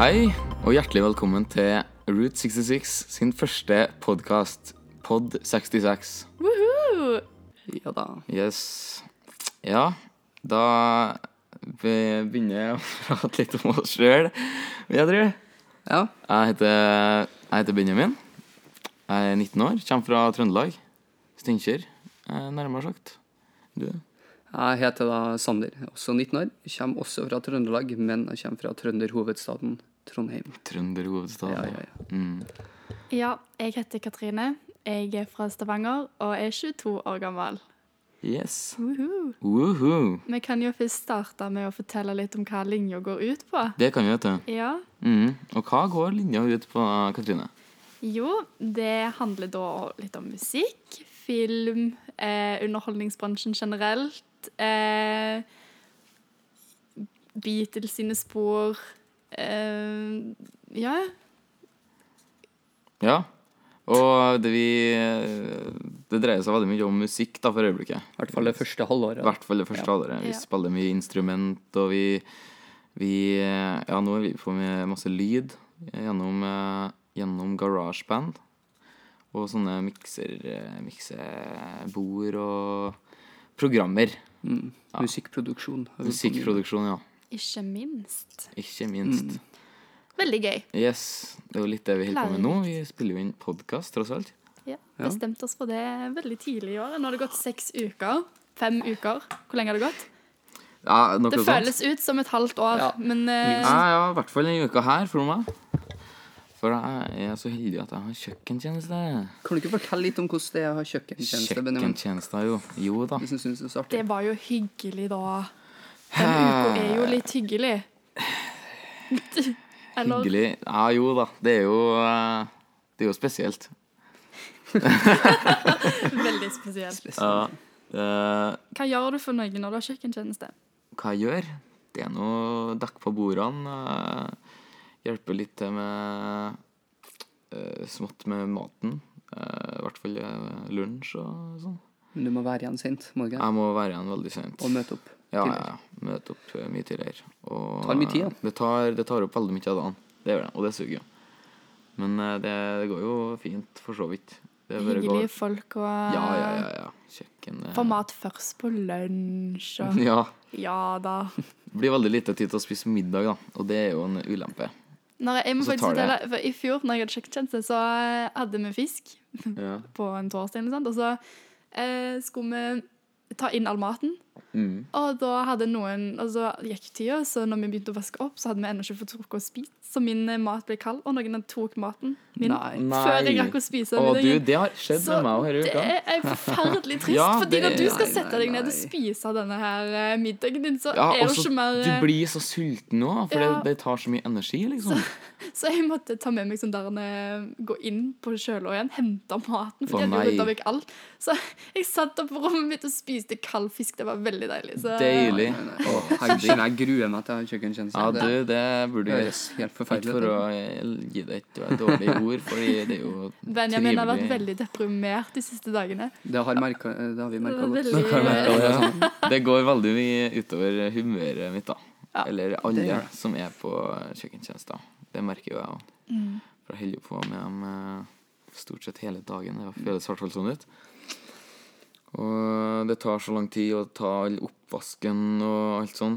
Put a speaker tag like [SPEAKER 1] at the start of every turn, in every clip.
[SPEAKER 1] Hei, og hjertelig velkommen til Route 66 sin første podkast, Pod 66.
[SPEAKER 2] Woohoo! Ja da.
[SPEAKER 1] Yes. Ja, da vi begynner jeg å prate litt om oss sjøl. Jeg tror
[SPEAKER 2] Ja.
[SPEAKER 1] Jeg heter, jeg heter Benjamin. Jeg er 19 år, kommer fra Trøndelag. Steinkjer, eh, nærmere sagt. Du?
[SPEAKER 2] Jeg heter da Sander, også 19 år. Kommer også fra Trøndelag, men jeg kommer fra trønderhovedstaden Trondheim.
[SPEAKER 1] Trønderhovedstad.
[SPEAKER 2] Ja, ja, ja.
[SPEAKER 1] Mm.
[SPEAKER 3] Ja, jeg heter Katrine. Jeg er fra Stavanger og er 22 år gammel.
[SPEAKER 1] Yes.
[SPEAKER 3] Woohoo!
[SPEAKER 1] Woohoo.
[SPEAKER 3] Vi kan jo først starte med å fortelle litt om hva linja går ut på.
[SPEAKER 1] Det kan vi, vet du.
[SPEAKER 3] Ja,
[SPEAKER 1] Mm. Og hva går linja ut på, Katrine?
[SPEAKER 3] jo, det handler da litt om musikk, film, eh, underholdningsbransjen generelt. Eh, Beatles sine spor. Eh, ja,
[SPEAKER 1] Ja. Og det, vi, det dreier seg veldig mye om musikk da, for øyeblikket.
[SPEAKER 2] I hvert fall det første
[SPEAKER 1] I
[SPEAKER 2] halvåret.
[SPEAKER 1] hvert fall det første halvåret. Vi
[SPEAKER 3] Ja.
[SPEAKER 1] spiller mye instrument, og vi, vi Ja, nå er vi på med masse lyd gjennom, eh, gjennom garasjeband. Og sånne mikser, eh, miksebord og programmer.
[SPEAKER 2] Mm.
[SPEAKER 1] Ja.
[SPEAKER 2] Musikkproduksjon. har vi på med.
[SPEAKER 1] Musikkproduksjon, ja.
[SPEAKER 3] ikke minst.
[SPEAKER 1] Ikke minst.
[SPEAKER 3] Veldig gøy.
[SPEAKER 1] Yes. Det er jo litt det vi holder på med nå.
[SPEAKER 3] Lærerikt.
[SPEAKER 1] Vi spiller jo inn podkast, tross alt.
[SPEAKER 3] Ja,
[SPEAKER 2] Ja.
[SPEAKER 3] bestemte oss for det veldig tidlig i år. Nå har det gått seks uker. Fem uker. Hvor lenge har det gått?
[SPEAKER 1] Ja, noe
[SPEAKER 3] Det
[SPEAKER 1] sånt.
[SPEAKER 3] føles ut som et halvt år,
[SPEAKER 2] Ja.
[SPEAKER 3] men eh,
[SPEAKER 1] Ja, ja, i hvert fall denne uka her, for meg. For jeg er så heldig at jeg har kjøkkentjeneste.
[SPEAKER 2] Kan du ikke fortelle litt om hvordan det er å ha kjøkkentjeneste? Benjamin?
[SPEAKER 1] Kjøkkentjeneste, jo. Jo da.
[SPEAKER 2] Hvis du synes det er så artig.
[SPEAKER 3] det var jo hyggelig, da. Den uka er jo litt hyggelig. Eller
[SPEAKER 1] Hyggelig. Ja, jo da. Det er jo eh, Det er jo spesielt.
[SPEAKER 3] veldig spesielt.
[SPEAKER 1] Ja. Eh,
[SPEAKER 3] Hva gjør du for noe når du har kjøkkentjeneste?
[SPEAKER 1] hva jeg gjør? Det er noe dekke på bordene. eh, hjelpe litt til med eh, smått med maten. eh, I hvert fall eh, lunsj og sånn.
[SPEAKER 2] Men du må være igjen sent, må du ikke?
[SPEAKER 1] Jeg må være igjen veldig sent.
[SPEAKER 2] Og møte opp.
[SPEAKER 1] Ja,
[SPEAKER 2] tidligere.
[SPEAKER 1] ja, ja. Møte opp eh, mye tidligere. Og eh,
[SPEAKER 2] Tar mye tid, ja.
[SPEAKER 1] Det tar, det tar opp veldig mye av dagen. Det gjør det, og det suger jo. Men eh, det, det går jo fint, for så vidt. Det bare går-
[SPEAKER 3] Hyggelige folk og
[SPEAKER 1] Ja, ja, ja. ja. Kjøkken eh,
[SPEAKER 3] Få mat først på lunsj og
[SPEAKER 1] Ja.
[SPEAKER 3] Ja da.
[SPEAKER 1] Det blir veldig lite tid til å spise middag, da. Og det er jo en ulempe.
[SPEAKER 3] Når jeg, jeg må
[SPEAKER 1] Så
[SPEAKER 3] faktisk
[SPEAKER 1] tar det.
[SPEAKER 3] fortelle, for I fjor når jeg hadde kjøkkentjeneste, så eh, hadde vi fisk.
[SPEAKER 2] Mm.
[SPEAKER 1] Ja.
[SPEAKER 3] på en torsdag, eller noe sånt, og så eh, skulle vi ta inn all maten.
[SPEAKER 1] Mm.
[SPEAKER 3] Og da hadde noen, og så gikk tida, så når vi begynte å vaske opp, så hadde vi ennå ikke fått rukket å spise. Så min eh, mat ble kald, og noen tok maten min
[SPEAKER 2] Nei.
[SPEAKER 3] før jeg
[SPEAKER 1] Nei.
[SPEAKER 3] rakk å spise.
[SPEAKER 1] Og du,
[SPEAKER 3] middagen.
[SPEAKER 1] det har skjedd
[SPEAKER 3] Så
[SPEAKER 1] med meg og hele
[SPEAKER 3] det
[SPEAKER 1] uka.
[SPEAKER 3] er forferdelig trist,
[SPEAKER 1] Ja,
[SPEAKER 3] fordi
[SPEAKER 1] det-
[SPEAKER 3] når du skal
[SPEAKER 2] Nei,
[SPEAKER 3] sette
[SPEAKER 2] nei,
[SPEAKER 3] deg ned og
[SPEAKER 2] nei.
[SPEAKER 3] spise denne her eh, middagen din, så
[SPEAKER 1] Ja,
[SPEAKER 3] er
[SPEAKER 1] og
[SPEAKER 3] det
[SPEAKER 1] så
[SPEAKER 3] ikke mer
[SPEAKER 1] du
[SPEAKER 3] eh,
[SPEAKER 1] blir så sulten òg, for
[SPEAKER 3] Ja.
[SPEAKER 1] det, det tar så mye energi, liksom.
[SPEAKER 3] Så jeg måtte ta med meg sånn der eh, Gå inn på kjøla igjen, hente maten. For
[SPEAKER 1] Å,
[SPEAKER 3] jeg hadde jo
[SPEAKER 1] nei.
[SPEAKER 3] rydda vekk alt. Så jeg satt opp på rommet mitt og spiste kald fisk. Det var veldig deilig. Så
[SPEAKER 1] Deilig.
[SPEAKER 2] Nei, nei, nei. Å, herregud, jeg gruer meg til å ha kjøkkentjeneste.
[SPEAKER 1] Ja, du,
[SPEAKER 2] det
[SPEAKER 1] det burde gjøres.
[SPEAKER 2] høres helt
[SPEAKER 1] Ikke
[SPEAKER 2] forferdelig
[SPEAKER 1] for
[SPEAKER 2] ut.
[SPEAKER 1] å eh, gi deg et dårlig ord, Fordi det er jo
[SPEAKER 3] Benjamin har vært
[SPEAKER 1] trivelig.
[SPEAKER 3] veldig deprimert de siste dagene.
[SPEAKER 2] Det har, merket, det har vi merka godt.
[SPEAKER 3] Veldig-
[SPEAKER 2] Har merket det, sånn.
[SPEAKER 1] Det går veldig mye utover humøret mitt, da.
[SPEAKER 3] Ja,
[SPEAKER 1] Eller
[SPEAKER 2] det
[SPEAKER 1] alle
[SPEAKER 2] gjør det.
[SPEAKER 1] som er på kjøkkentjenester. Det merker jo jeg òg.
[SPEAKER 3] Mm.
[SPEAKER 1] For jeg holder jo på med dem eh, stort sett hele dagen. Det føles i hvert fall sånn ut. Og det tar så lang tid å ta all oppvasken og alt sånn.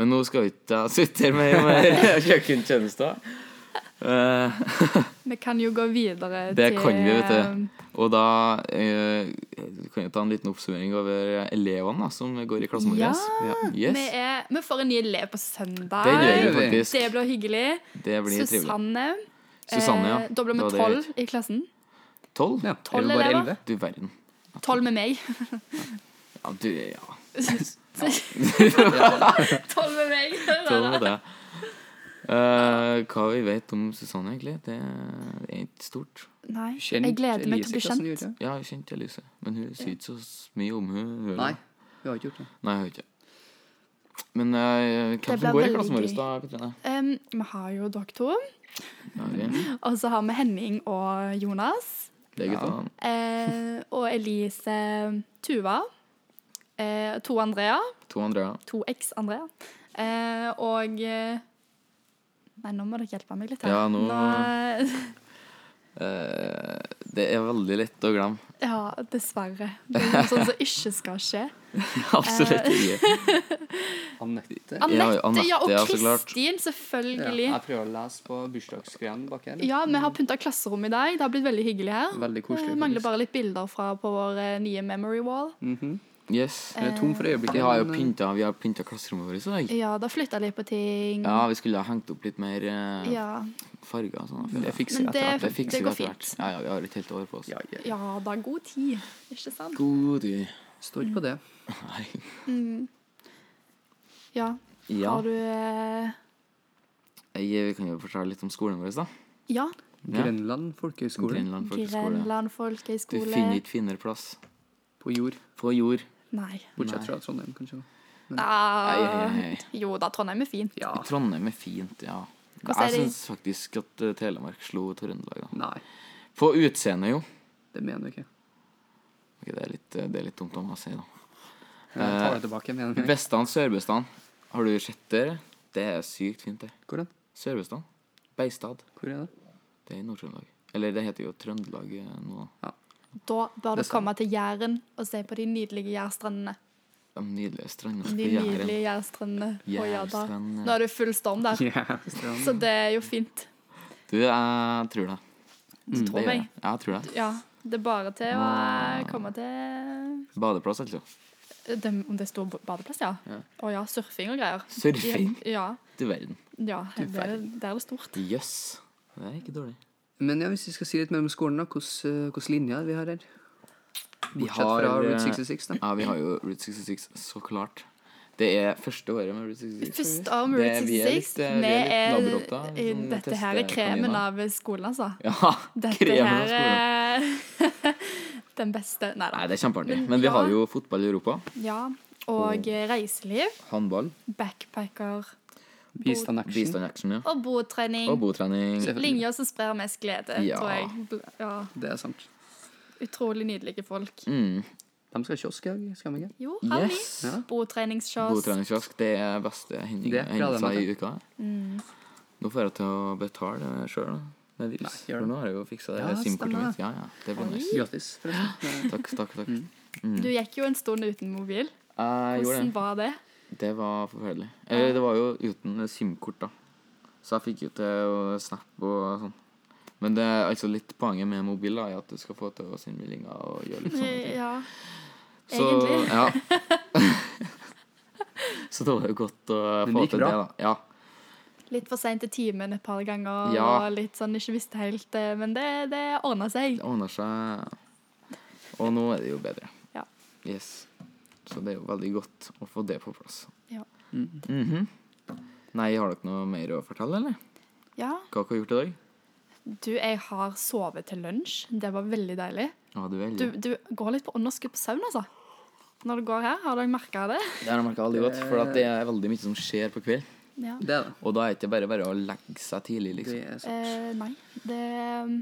[SPEAKER 1] Men nå skal jo ikke jeg sitte her med, med kjøkkentjenester. Eh,
[SPEAKER 3] Vi kan jo gå videre
[SPEAKER 1] Det
[SPEAKER 3] til
[SPEAKER 1] kan vi, vet du. Og da eh, kan jeg ta en liten oppsummering over elevene da, som går i klassen vår.
[SPEAKER 3] Ja,
[SPEAKER 1] Yes.
[SPEAKER 3] Vi, er, vi får en ny elev på søndag.
[SPEAKER 1] Det gjør vi
[SPEAKER 2] Nei.
[SPEAKER 1] faktisk.
[SPEAKER 3] Det blir hyggelig.
[SPEAKER 1] Det blir trivelig.
[SPEAKER 3] Susanne.
[SPEAKER 1] Susanne, ja.
[SPEAKER 3] Eh, Da
[SPEAKER 1] Det
[SPEAKER 3] blir vi
[SPEAKER 1] var det
[SPEAKER 3] tolv i klassen.
[SPEAKER 1] Tolv?
[SPEAKER 2] Ja,
[SPEAKER 3] Tolv
[SPEAKER 2] eller bare
[SPEAKER 3] elever.
[SPEAKER 2] elleve.
[SPEAKER 1] Du verden.
[SPEAKER 3] Tolv med meg.
[SPEAKER 1] Ja, du, ja.
[SPEAKER 3] Tolv med meg.
[SPEAKER 1] Tolv med det. Eh, hva vi vet om Susanne, egentlig, det er ikke stort.
[SPEAKER 3] Nei,
[SPEAKER 2] Kjent
[SPEAKER 3] jeg gleder meg til å
[SPEAKER 2] Elise
[SPEAKER 3] bli
[SPEAKER 2] Klassen
[SPEAKER 3] kjent.
[SPEAKER 2] gjorde det.
[SPEAKER 1] Ja, jeg kjente Elise, men hun sier ikke så mye om hun. hun
[SPEAKER 2] Nei, vi har ikke gjort det.
[SPEAKER 1] Nei, hun gjør ikke. Men eh, hvem
[SPEAKER 3] ble
[SPEAKER 1] som går i
[SPEAKER 3] veldig
[SPEAKER 1] klassen vår
[SPEAKER 3] gøy.
[SPEAKER 1] da, Katrine?
[SPEAKER 3] Um, vi har jo dere to,
[SPEAKER 1] Ja, vi-
[SPEAKER 3] og så har vi Henning og Jonas.
[SPEAKER 1] det er
[SPEAKER 2] Ja.
[SPEAKER 1] gutta.
[SPEAKER 3] Eh, og Elise Tuva. Eh, to Andrea.
[SPEAKER 1] To Andrea.
[SPEAKER 3] To eks Andrea. Eh, og eh, Nei, nå må dere hjelpe meg litt her.
[SPEAKER 1] Ja, nå-
[SPEAKER 3] nå
[SPEAKER 1] Eh, det er veldig lett å glemme.
[SPEAKER 3] Ja, dessverre. Det er noe sånt som ikke skal skje. Eh.
[SPEAKER 1] Absolutt ikke.
[SPEAKER 2] Anette?
[SPEAKER 1] An-
[SPEAKER 3] Anette,
[SPEAKER 1] Anette,
[SPEAKER 3] ja, og
[SPEAKER 1] ja, så klart.
[SPEAKER 3] Kristin,
[SPEAKER 2] Ja,
[SPEAKER 3] selvfølgelig.
[SPEAKER 2] jeg prøver å lese på bursdagsgreiene bak her.
[SPEAKER 3] Ja, vi har pynta klasserommet i dag. Det har blitt veldig hyggelig her.
[SPEAKER 2] Veldig koselig,
[SPEAKER 3] Eh, mangler
[SPEAKER 2] faktisk.
[SPEAKER 3] bare litt bilder fra på vår eh, nye memory wall.
[SPEAKER 1] Mm.
[SPEAKER 2] Mhm.
[SPEAKER 1] Yes.
[SPEAKER 2] Jeg er tom for øyeblikket.
[SPEAKER 1] Vi har jo
[SPEAKER 2] men, eh,
[SPEAKER 1] pynta, vi har pynta klasserommet vårt i dag.
[SPEAKER 3] Ja, da flytta litt på ting.
[SPEAKER 1] Ja, vi skulle ha hengt opp litt mer eh,
[SPEAKER 3] ja.
[SPEAKER 1] farger og sånn.
[SPEAKER 2] Det fikser
[SPEAKER 3] Men
[SPEAKER 2] vi etter
[SPEAKER 1] Det
[SPEAKER 2] hvert.
[SPEAKER 1] fikser vi
[SPEAKER 3] Det går
[SPEAKER 1] etter hvert.
[SPEAKER 3] fint.
[SPEAKER 1] Ja, ja, vi har et helt år på oss.
[SPEAKER 2] Ja, ja.
[SPEAKER 3] ja da. God tid, ikke sant?
[SPEAKER 1] God i-
[SPEAKER 2] Står på det.
[SPEAKER 1] Nei.
[SPEAKER 3] Ja.
[SPEAKER 1] Ja.
[SPEAKER 3] Har du eh,
[SPEAKER 1] Jeg, vi kan jo fortelle litt om skolen vår, da.
[SPEAKER 3] Ja.
[SPEAKER 1] Ja.
[SPEAKER 2] Grenland folkehøgskole
[SPEAKER 1] Grenland folkeskole.
[SPEAKER 3] Grenland
[SPEAKER 1] Du
[SPEAKER 3] folkehøgskole.
[SPEAKER 1] finner ikke finere plass
[SPEAKER 2] på jord.
[SPEAKER 1] på jord.
[SPEAKER 3] Nei.
[SPEAKER 2] Bortsett
[SPEAKER 1] Nei.
[SPEAKER 2] fra Trondheim, kanskje.
[SPEAKER 1] Nei,
[SPEAKER 3] Ah,
[SPEAKER 1] nei,
[SPEAKER 3] Jo da, Trondheim er fint.
[SPEAKER 2] Ja.
[SPEAKER 1] Trondheim er fint, ja.
[SPEAKER 3] Hvordan er
[SPEAKER 1] Jeg
[SPEAKER 3] det-
[SPEAKER 1] syns faktisk at eh, Telemark slo Trøndelag. da.
[SPEAKER 2] Nei,
[SPEAKER 1] På utseende, jo.
[SPEAKER 2] det mener jeg ikke.
[SPEAKER 1] Ok, det, er litt, eh, det er litt dumt om jeg sier det.
[SPEAKER 2] Jeg tar det tilbake. jeg Mener jeg.
[SPEAKER 1] Bestand, Sørbestand. Har du sett det? eller? Det er sykt fint, det.
[SPEAKER 2] Hvor, er det?
[SPEAKER 1] Sørbestand. Beistad.
[SPEAKER 2] Hvor er det?
[SPEAKER 1] Det er i Nord-Trøndelag. Eller det heter jo Trøndelag eh, nå.
[SPEAKER 3] Da bør du
[SPEAKER 2] Det stemmer.
[SPEAKER 3] komme til Jæren og se på de nydelige jærstrendene.
[SPEAKER 1] De nydelige strendene
[SPEAKER 3] De
[SPEAKER 1] på Jæren.
[SPEAKER 3] nydelige jærstrendene på Jada.
[SPEAKER 1] Jærstrendene.
[SPEAKER 3] Nå er det full storm der,
[SPEAKER 2] Ja, Strand.
[SPEAKER 3] så det er jo fint.
[SPEAKER 1] Du, jeg tror det.
[SPEAKER 3] Du
[SPEAKER 1] Mm, Det
[SPEAKER 3] tror
[SPEAKER 1] gjør
[SPEAKER 3] meg.
[SPEAKER 1] jeg. Ja, jeg tror det.
[SPEAKER 3] Ja, det er bare til å eh, komme til
[SPEAKER 1] Badeplass, altså.
[SPEAKER 3] det, Om det er stor badeplass, ja? Å
[SPEAKER 1] Ja.
[SPEAKER 3] ja, surfing og greier.
[SPEAKER 1] Surfing.
[SPEAKER 3] Ja,
[SPEAKER 1] Du verden.
[SPEAKER 3] ja
[SPEAKER 2] Du
[SPEAKER 3] det, er, det er det stort.
[SPEAKER 1] Jøss. Det er ikke dårlig.
[SPEAKER 2] Men ja, hvis vi skal si litt mer om skolen, da, hvilke linjer vi har her?
[SPEAKER 1] Vi
[SPEAKER 2] Bortsett fra
[SPEAKER 1] har, eh,
[SPEAKER 2] Route 66, da.
[SPEAKER 1] Ja, vi har jo Route 66, så klart. Det er første året med Route 66.
[SPEAKER 3] Først om
[SPEAKER 1] Det-
[SPEAKER 3] Route
[SPEAKER 1] vi er
[SPEAKER 3] 66.
[SPEAKER 1] litt, eh, vi
[SPEAKER 3] Vi
[SPEAKER 1] er
[SPEAKER 3] er
[SPEAKER 1] litt sånn labrotter, som
[SPEAKER 3] Dette her er
[SPEAKER 1] tester
[SPEAKER 3] kremen
[SPEAKER 1] kaniner.
[SPEAKER 3] av skolen, altså.
[SPEAKER 1] Ja,
[SPEAKER 3] Dette
[SPEAKER 1] kremen av
[SPEAKER 3] her eh,
[SPEAKER 1] skolen.
[SPEAKER 3] er den beste Nei da.
[SPEAKER 1] Nei, det er kjempeartig.
[SPEAKER 3] Men
[SPEAKER 1] Men vi
[SPEAKER 3] ja.
[SPEAKER 1] har jo fotball i Europa.
[SPEAKER 3] Ja.
[SPEAKER 1] Oh.
[SPEAKER 3] Og eh, reiseliv.
[SPEAKER 1] Håndball.
[SPEAKER 3] Backpacker.
[SPEAKER 2] Bistand action.
[SPEAKER 1] Bistand action, ja.
[SPEAKER 3] Og botrening.
[SPEAKER 1] Og botrening.
[SPEAKER 3] Linjer som sprer mest glede,
[SPEAKER 1] Ja.
[SPEAKER 3] tror jeg. Bl- Ja,
[SPEAKER 2] Det er sant.
[SPEAKER 3] utrolig nydelige folk.
[SPEAKER 1] Mm.
[SPEAKER 2] De skal ha kiosk i dag, skal de ikke?
[SPEAKER 3] Jo, har vi.
[SPEAKER 1] Yes.
[SPEAKER 2] Ja.
[SPEAKER 3] Botreningskiosk.
[SPEAKER 1] Botreningskiosk. Det er beste
[SPEAKER 2] Det er
[SPEAKER 1] hendelser
[SPEAKER 2] bra,
[SPEAKER 1] hendelser
[SPEAKER 2] det,
[SPEAKER 1] i uka.
[SPEAKER 2] Mm.
[SPEAKER 1] Nå får jeg til å betale sjøl, da. Med Vipps.
[SPEAKER 2] Nei, gjør
[SPEAKER 1] For
[SPEAKER 2] det.
[SPEAKER 1] nå har jeg jo fiksa
[SPEAKER 2] Ja,
[SPEAKER 1] SIM-kortet
[SPEAKER 2] stemmer. Mm.
[SPEAKER 1] mitt. Ja, ja. Det var nice.
[SPEAKER 2] Gratis, forresten.
[SPEAKER 1] Takk, takk. takk.
[SPEAKER 3] Du gikk jo en stund uten mobil.
[SPEAKER 1] mm. Jeg gjorde
[SPEAKER 3] Hvordan
[SPEAKER 1] det.
[SPEAKER 3] var det?
[SPEAKER 1] Det var forferdelig. Eller det var jo uten SIM-kort, da. Så jeg fikk jo til å snap og sånn. Men det er altså litt poenget med mobil da, er at du skal få til å sende meldinger og gjøre litt sånne ting.
[SPEAKER 3] Eh, Ja.
[SPEAKER 1] Sånn, Så,
[SPEAKER 3] Egentlig.
[SPEAKER 1] ja. så det var jo godt å
[SPEAKER 2] Men det
[SPEAKER 1] få
[SPEAKER 2] gikk
[SPEAKER 1] til det,
[SPEAKER 2] bra.
[SPEAKER 1] da. Ja.
[SPEAKER 3] Litt for seint til timen et par ganger,
[SPEAKER 1] Ja.
[SPEAKER 3] og litt sånn ikke visste helt, eh, men det, det ordna seg.
[SPEAKER 1] Det ordner seg. Og nå er det jo bedre.
[SPEAKER 3] Ja.
[SPEAKER 1] Yes. Så det er jo veldig godt å få det på plass.
[SPEAKER 3] Ja.
[SPEAKER 1] Mhm. Nei, har dere noe mer å fortelle, eller?
[SPEAKER 3] ja.
[SPEAKER 1] Hva har dere gjort i dag?
[SPEAKER 3] Du, jeg har sovet til lunsj. Det var veldig deilig.
[SPEAKER 1] Ja, du er
[SPEAKER 3] Du,
[SPEAKER 1] heldig.
[SPEAKER 3] du går litt på underskudd på søvn, altså. Når du går her, har dere merka det?
[SPEAKER 1] Det har jeg merka veldig godt, for at det er veldig mye som skjer på kveld.
[SPEAKER 3] Ja.
[SPEAKER 2] Det er det.
[SPEAKER 1] Og da er det ikke bare bare å legge seg tidlig,
[SPEAKER 2] Det
[SPEAKER 1] liksom.
[SPEAKER 2] er sant.
[SPEAKER 3] Eh, nei. Det um,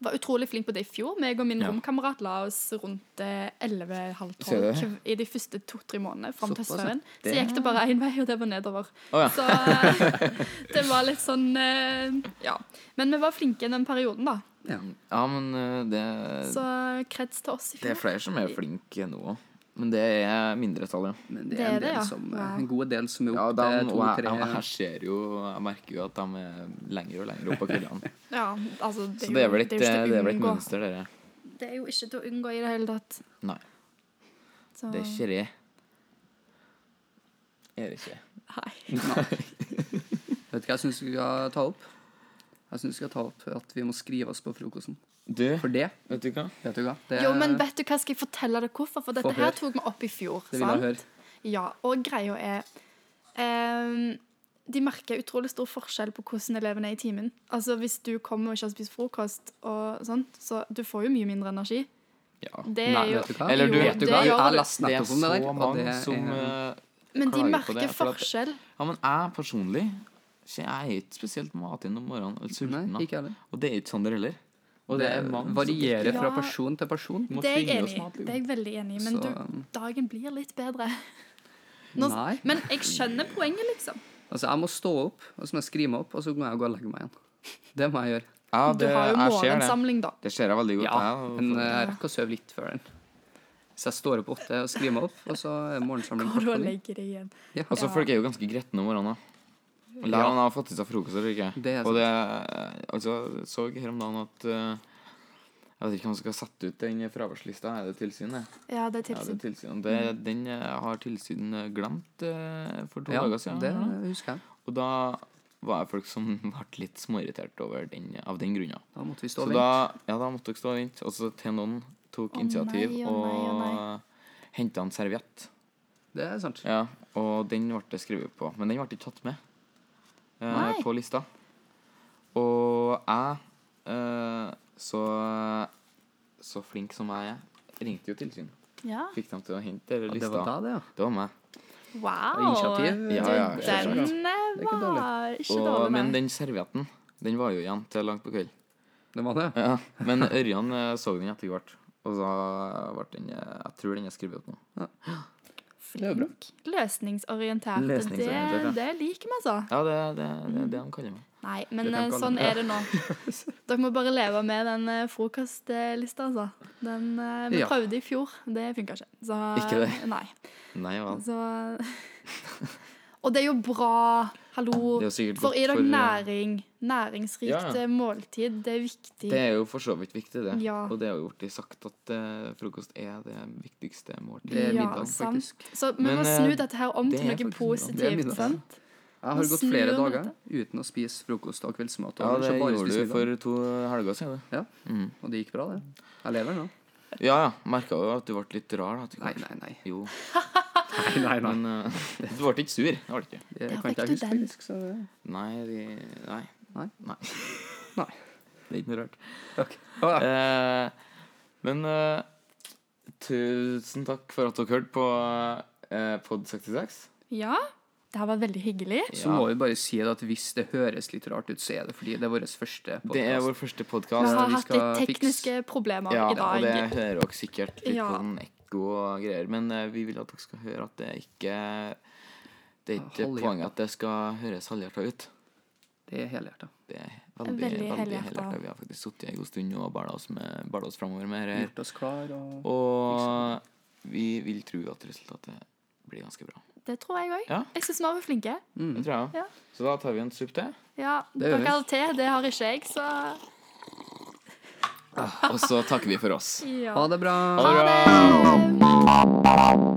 [SPEAKER 3] var utrolig flink på det i fjor. Meg og min
[SPEAKER 1] Ja.
[SPEAKER 3] romkamerat la oss rundt eh, 11.30
[SPEAKER 1] Ser du det?
[SPEAKER 3] kv- i de første to-tre månedene fram til
[SPEAKER 2] Såpass, ja.
[SPEAKER 3] søvn. Så
[SPEAKER 1] Det-
[SPEAKER 3] gikk det bare én vei, og det var nedover.
[SPEAKER 1] Å, ja.
[SPEAKER 3] Så eh, det var litt sånn eh, Ja. Men vi var flinke i den perioden, da.
[SPEAKER 2] Ja.
[SPEAKER 1] Ja, men eh, det,
[SPEAKER 3] Så kreds til oss i
[SPEAKER 1] det er
[SPEAKER 3] fjor.
[SPEAKER 1] flere som er flinke nå òg. Men det er mindretallet.
[SPEAKER 2] Men det
[SPEAKER 3] Det
[SPEAKER 2] er
[SPEAKER 3] er
[SPEAKER 2] en,
[SPEAKER 3] det,
[SPEAKER 2] del
[SPEAKER 3] ja.
[SPEAKER 2] som, eh,
[SPEAKER 3] Wow.
[SPEAKER 2] en god del som er
[SPEAKER 1] Ja,
[SPEAKER 2] oppe
[SPEAKER 1] dem-
[SPEAKER 2] til
[SPEAKER 1] og jeg, jeg,
[SPEAKER 2] to-tre
[SPEAKER 1] jeg ser jo Jeg merker jo at de er lenger og lenger opp på kveldene.
[SPEAKER 3] Ja, altså, det,
[SPEAKER 1] Så det er vel
[SPEAKER 3] jo-
[SPEAKER 1] et,
[SPEAKER 3] jo ikke til å
[SPEAKER 1] det er vel et
[SPEAKER 3] unngå.
[SPEAKER 1] mønster, dere.
[SPEAKER 3] Det er jo ikke til å unngå i det hele tatt.
[SPEAKER 1] Nei,
[SPEAKER 3] Så.
[SPEAKER 1] det er ikke det. Er det ikke?
[SPEAKER 3] Nei.
[SPEAKER 2] Vet du hva jeg syns vi skal ta opp? Jeg syns vi skal ta opp at vi må skrive oss på frokosten.
[SPEAKER 1] Du,
[SPEAKER 2] For det,
[SPEAKER 1] vet du hva?
[SPEAKER 2] vet du hva det,
[SPEAKER 3] Jo, men vet du hva, skal jeg fortelle deg hvorfor? For dette
[SPEAKER 2] Få høre.
[SPEAKER 3] her tok vi opp i fjor.
[SPEAKER 2] Det vil jeg høre.
[SPEAKER 3] Ja, og greia er ehm, De merker utrolig stor forskjell på hvordan elevene er i timen. Altså, Hvis du kommer og ikke har spist frokost, og sånt, så du får jo mye mindre energi.
[SPEAKER 1] Ja.
[SPEAKER 3] Det
[SPEAKER 2] Nei,
[SPEAKER 3] er jo,
[SPEAKER 2] vet du hva?
[SPEAKER 1] Eller du-
[SPEAKER 3] jo,
[SPEAKER 1] vet du
[SPEAKER 3] det
[SPEAKER 1] hva?
[SPEAKER 2] Jeg
[SPEAKER 3] gjør
[SPEAKER 2] har
[SPEAKER 3] du.
[SPEAKER 2] lest nettopp om det
[SPEAKER 1] så
[SPEAKER 2] der. og det
[SPEAKER 1] mange
[SPEAKER 2] er-
[SPEAKER 1] som eh,
[SPEAKER 3] Men de
[SPEAKER 1] klager på
[SPEAKER 3] merker
[SPEAKER 1] det, for at-
[SPEAKER 3] forskjell.
[SPEAKER 1] Ja, men jeg personlig så Jeg er ikke spesielt matig om morgenen eller sulten.
[SPEAKER 2] Nei,
[SPEAKER 1] da.
[SPEAKER 2] ikke heller.
[SPEAKER 1] Og det er ikke sånn dere heller. Og det
[SPEAKER 2] Det
[SPEAKER 1] er mange som
[SPEAKER 2] varierer
[SPEAKER 1] ikke-
[SPEAKER 2] fra
[SPEAKER 3] Ja.
[SPEAKER 2] person til person.
[SPEAKER 1] Vi må
[SPEAKER 3] Det er jeg
[SPEAKER 1] tvinge
[SPEAKER 3] enig
[SPEAKER 1] oss
[SPEAKER 3] i.
[SPEAKER 1] mat,
[SPEAKER 3] Det
[SPEAKER 1] liksom.
[SPEAKER 3] er jeg veldig enig i. Men
[SPEAKER 2] Så,
[SPEAKER 3] du,
[SPEAKER 2] um,
[SPEAKER 3] dagen blir litt bedre. Nå,
[SPEAKER 2] Nei.
[SPEAKER 3] men jeg skjønner poenget, liksom.
[SPEAKER 2] Altså, jeg må stå opp, og så må jeg skrive meg opp, og så må jeg gå og legge meg igjen. Det må jeg gjøre.
[SPEAKER 1] Ja,
[SPEAKER 3] Du
[SPEAKER 1] det,
[SPEAKER 3] har jo
[SPEAKER 1] jeg ser det.
[SPEAKER 3] morgensamling, da.
[SPEAKER 1] Det ser jeg veldig godt.
[SPEAKER 2] Ja,
[SPEAKER 1] jeg,
[SPEAKER 2] men eh, jeg rekker å sove litt før den. Så jeg står opp åtte og skriver meg opp, og så er morgensamling
[SPEAKER 3] Går
[SPEAKER 2] kvart
[SPEAKER 3] du
[SPEAKER 2] på
[SPEAKER 3] og
[SPEAKER 2] ni.
[SPEAKER 3] legger deg igjen.
[SPEAKER 2] Ja.
[SPEAKER 1] Og så
[SPEAKER 3] Ja.
[SPEAKER 1] Altså, folk er jo ganske gretne om morgenen. da. Lær om de har fått i seg frokost eller ikke.
[SPEAKER 2] Det er
[SPEAKER 1] og det altså, jeg så her om dagen at eh, Jeg vet ikke om man skal sette ut den fraværslista. Er det tilsyn, det?
[SPEAKER 3] Ja, det er
[SPEAKER 1] Ja, det er
[SPEAKER 3] tilsyn.
[SPEAKER 1] tilsyn. Det, den eh, har tilsyn glemt eh, for to
[SPEAKER 2] Ja,
[SPEAKER 1] dager siden.
[SPEAKER 2] det
[SPEAKER 1] eller noe.
[SPEAKER 2] husker jeg.
[SPEAKER 1] Og da var det folk som ble litt småirritert over den, av den grunna.
[SPEAKER 2] Da måtte vi stå
[SPEAKER 1] Så
[SPEAKER 2] og
[SPEAKER 1] da,
[SPEAKER 2] vente.
[SPEAKER 1] ja, da måtte dere stå og vente. Og så til noen tok
[SPEAKER 3] Å
[SPEAKER 1] initiativ
[SPEAKER 3] nei, å nei, å nei.
[SPEAKER 1] og henta en serviett.
[SPEAKER 2] Det er sant.
[SPEAKER 1] Ja, og den ble det skrevet på. Men den ble ikke tatt med eh,
[SPEAKER 3] Nei.
[SPEAKER 1] på lista. Og jeg, eh, så, så flink som jeg er, ringte jo tilsyn.
[SPEAKER 3] Ja.
[SPEAKER 1] Fikk dem til å hente denne
[SPEAKER 2] Ja, det
[SPEAKER 1] lista.
[SPEAKER 2] var da, det, ja.
[SPEAKER 1] Det var meg.
[SPEAKER 3] Wow.
[SPEAKER 2] Initiativ.
[SPEAKER 1] Ja,
[SPEAKER 2] det-
[SPEAKER 1] ja,
[SPEAKER 2] det er
[SPEAKER 1] selvsagt.
[SPEAKER 2] bra.
[SPEAKER 3] Den eh,
[SPEAKER 2] er ikke dårlig.
[SPEAKER 3] var ikke
[SPEAKER 1] Og,
[SPEAKER 3] dårlig.
[SPEAKER 1] men
[SPEAKER 3] nei.
[SPEAKER 1] den servietten den var jo igjen til langt på kveld.
[SPEAKER 2] Det var det.
[SPEAKER 1] Ja, men Ørjan eh, så den etter hvert. Og så ble den eh, Jeg tror den er skrevet ut nå.
[SPEAKER 2] Det er jo bra.
[SPEAKER 3] Løsningsorientert.
[SPEAKER 1] Løsningsorientert, ja.
[SPEAKER 3] Det, det liker vi, altså.
[SPEAKER 1] Ja, det er det, det, er det de kaller meg.
[SPEAKER 3] Nei, men
[SPEAKER 2] Det kan
[SPEAKER 3] eh,
[SPEAKER 2] kalle
[SPEAKER 3] sånn
[SPEAKER 2] det.
[SPEAKER 3] er det nå. Dere må bare leve med den eh, frokostlista, altså. Den, eh, vi
[SPEAKER 2] Ja.
[SPEAKER 3] prøvde i fjor, det funka ikke. Så, eh,
[SPEAKER 1] Ikke det?
[SPEAKER 3] Nei.
[SPEAKER 1] Nei vel.
[SPEAKER 3] Så, og det er jo bra. Hallo.
[SPEAKER 1] Det er jo sikkert
[SPEAKER 3] For i
[SPEAKER 1] godt
[SPEAKER 3] dag
[SPEAKER 1] for eh,
[SPEAKER 3] næring. Næringsrikt
[SPEAKER 1] Ja, ja.
[SPEAKER 3] eh, måltid. Det er viktig.
[SPEAKER 1] Det er jo for så vidt viktig, det.
[SPEAKER 3] Ja.
[SPEAKER 1] Og det er jo blitt sagt at eh, frokost er det viktigste måltidet.
[SPEAKER 2] Det er
[SPEAKER 3] Ja,
[SPEAKER 2] middag,
[SPEAKER 3] sant.
[SPEAKER 2] faktisk.
[SPEAKER 3] Så vi
[SPEAKER 1] Men,
[SPEAKER 3] må
[SPEAKER 1] eh,
[SPEAKER 3] snu dette her om
[SPEAKER 1] det er
[SPEAKER 3] til noe
[SPEAKER 1] faktisk bra.
[SPEAKER 2] Det er
[SPEAKER 3] positivt.
[SPEAKER 2] middag.
[SPEAKER 3] sant?
[SPEAKER 2] Jeg har
[SPEAKER 3] Nå
[SPEAKER 2] gått
[SPEAKER 3] snur
[SPEAKER 2] flere
[SPEAKER 3] vi
[SPEAKER 2] dager
[SPEAKER 3] dette.
[SPEAKER 2] uten å spise frokost og kveldsmat. Og
[SPEAKER 1] Ja, det
[SPEAKER 2] ellers bare
[SPEAKER 1] gjorde du
[SPEAKER 2] spise middag.
[SPEAKER 1] for to helger siden.
[SPEAKER 2] Ja.
[SPEAKER 1] Mm.
[SPEAKER 2] Og det gikk bra, det. Jeg lever nå.
[SPEAKER 1] det. Ja, ja. Merka jo at du ble litt rar. da til
[SPEAKER 2] Nei,
[SPEAKER 1] hvert.
[SPEAKER 2] nei, nei.
[SPEAKER 1] Jo,
[SPEAKER 2] nei, nei, nei.
[SPEAKER 1] men eh, du ble ikke sur. Det ble du ikke.
[SPEAKER 2] Det
[SPEAKER 3] Der
[SPEAKER 2] kan
[SPEAKER 3] fikk
[SPEAKER 2] ikke
[SPEAKER 3] du
[SPEAKER 2] jeg huske,
[SPEAKER 3] den.
[SPEAKER 2] faktisk. Så det
[SPEAKER 1] Nei, de- nei.
[SPEAKER 2] Nei.
[SPEAKER 1] Nei.
[SPEAKER 2] Nei.
[SPEAKER 1] Det er ikke noe rart.
[SPEAKER 2] Å, ja.
[SPEAKER 1] Eh, men eh, tusen takk for at dere hørte på eh, Pod 66.
[SPEAKER 3] Ja. Det har vært veldig hyggelig.
[SPEAKER 2] Så må vi bare si det at hvis det høres litt rart ut, så er det fordi det er vår første
[SPEAKER 1] Det er
[SPEAKER 2] podkast.
[SPEAKER 1] vår første
[SPEAKER 3] Vi
[SPEAKER 1] podkast.
[SPEAKER 2] Ja,
[SPEAKER 3] har
[SPEAKER 2] vi
[SPEAKER 3] hatt litt
[SPEAKER 2] skal
[SPEAKER 3] tekniske problemer
[SPEAKER 1] Ja,
[SPEAKER 3] i dag.
[SPEAKER 1] og det hører dere sikkert litt
[SPEAKER 3] Ja.
[SPEAKER 1] på sånn ekko og greier. Men eh, vi vil at dere skal høre at det er ikke Det er ikke
[SPEAKER 2] Halvhjerta.
[SPEAKER 1] poenget at det skal høres halvhjerta ut.
[SPEAKER 2] Det er helhjerta.
[SPEAKER 1] Det er veldig, veldig,
[SPEAKER 3] Veldig helhjerta.
[SPEAKER 1] helhjerta. Vi har faktisk sittet i en god stund og bæla oss, med- bæla oss framover med det
[SPEAKER 3] Mm.
[SPEAKER 1] her.
[SPEAKER 2] Gjort oss klar og
[SPEAKER 1] Og vi vil tro at resultatet blir ganske bra.
[SPEAKER 3] Det tror jeg òg.
[SPEAKER 1] Ja.
[SPEAKER 3] Jeg syns vi har vært flinke.
[SPEAKER 1] Det tror jeg.
[SPEAKER 3] Mm. Ja.
[SPEAKER 1] også. Så da tar vi en supp til.
[SPEAKER 3] Ja,
[SPEAKER 2] Det gjør
[SPEAKER 3] Dere
[SPEAKER 2] vi.
[SPEAKER 3] har te, det har ikke jeg, så
[SPEAKER 1] Og så takker vi for oss.
[SPEAKER 3] ja.
[SPEAKER 2] Ha det bra.
[SPEAKER 1] Ha det bra!
[SPEAKER 3] Ha det!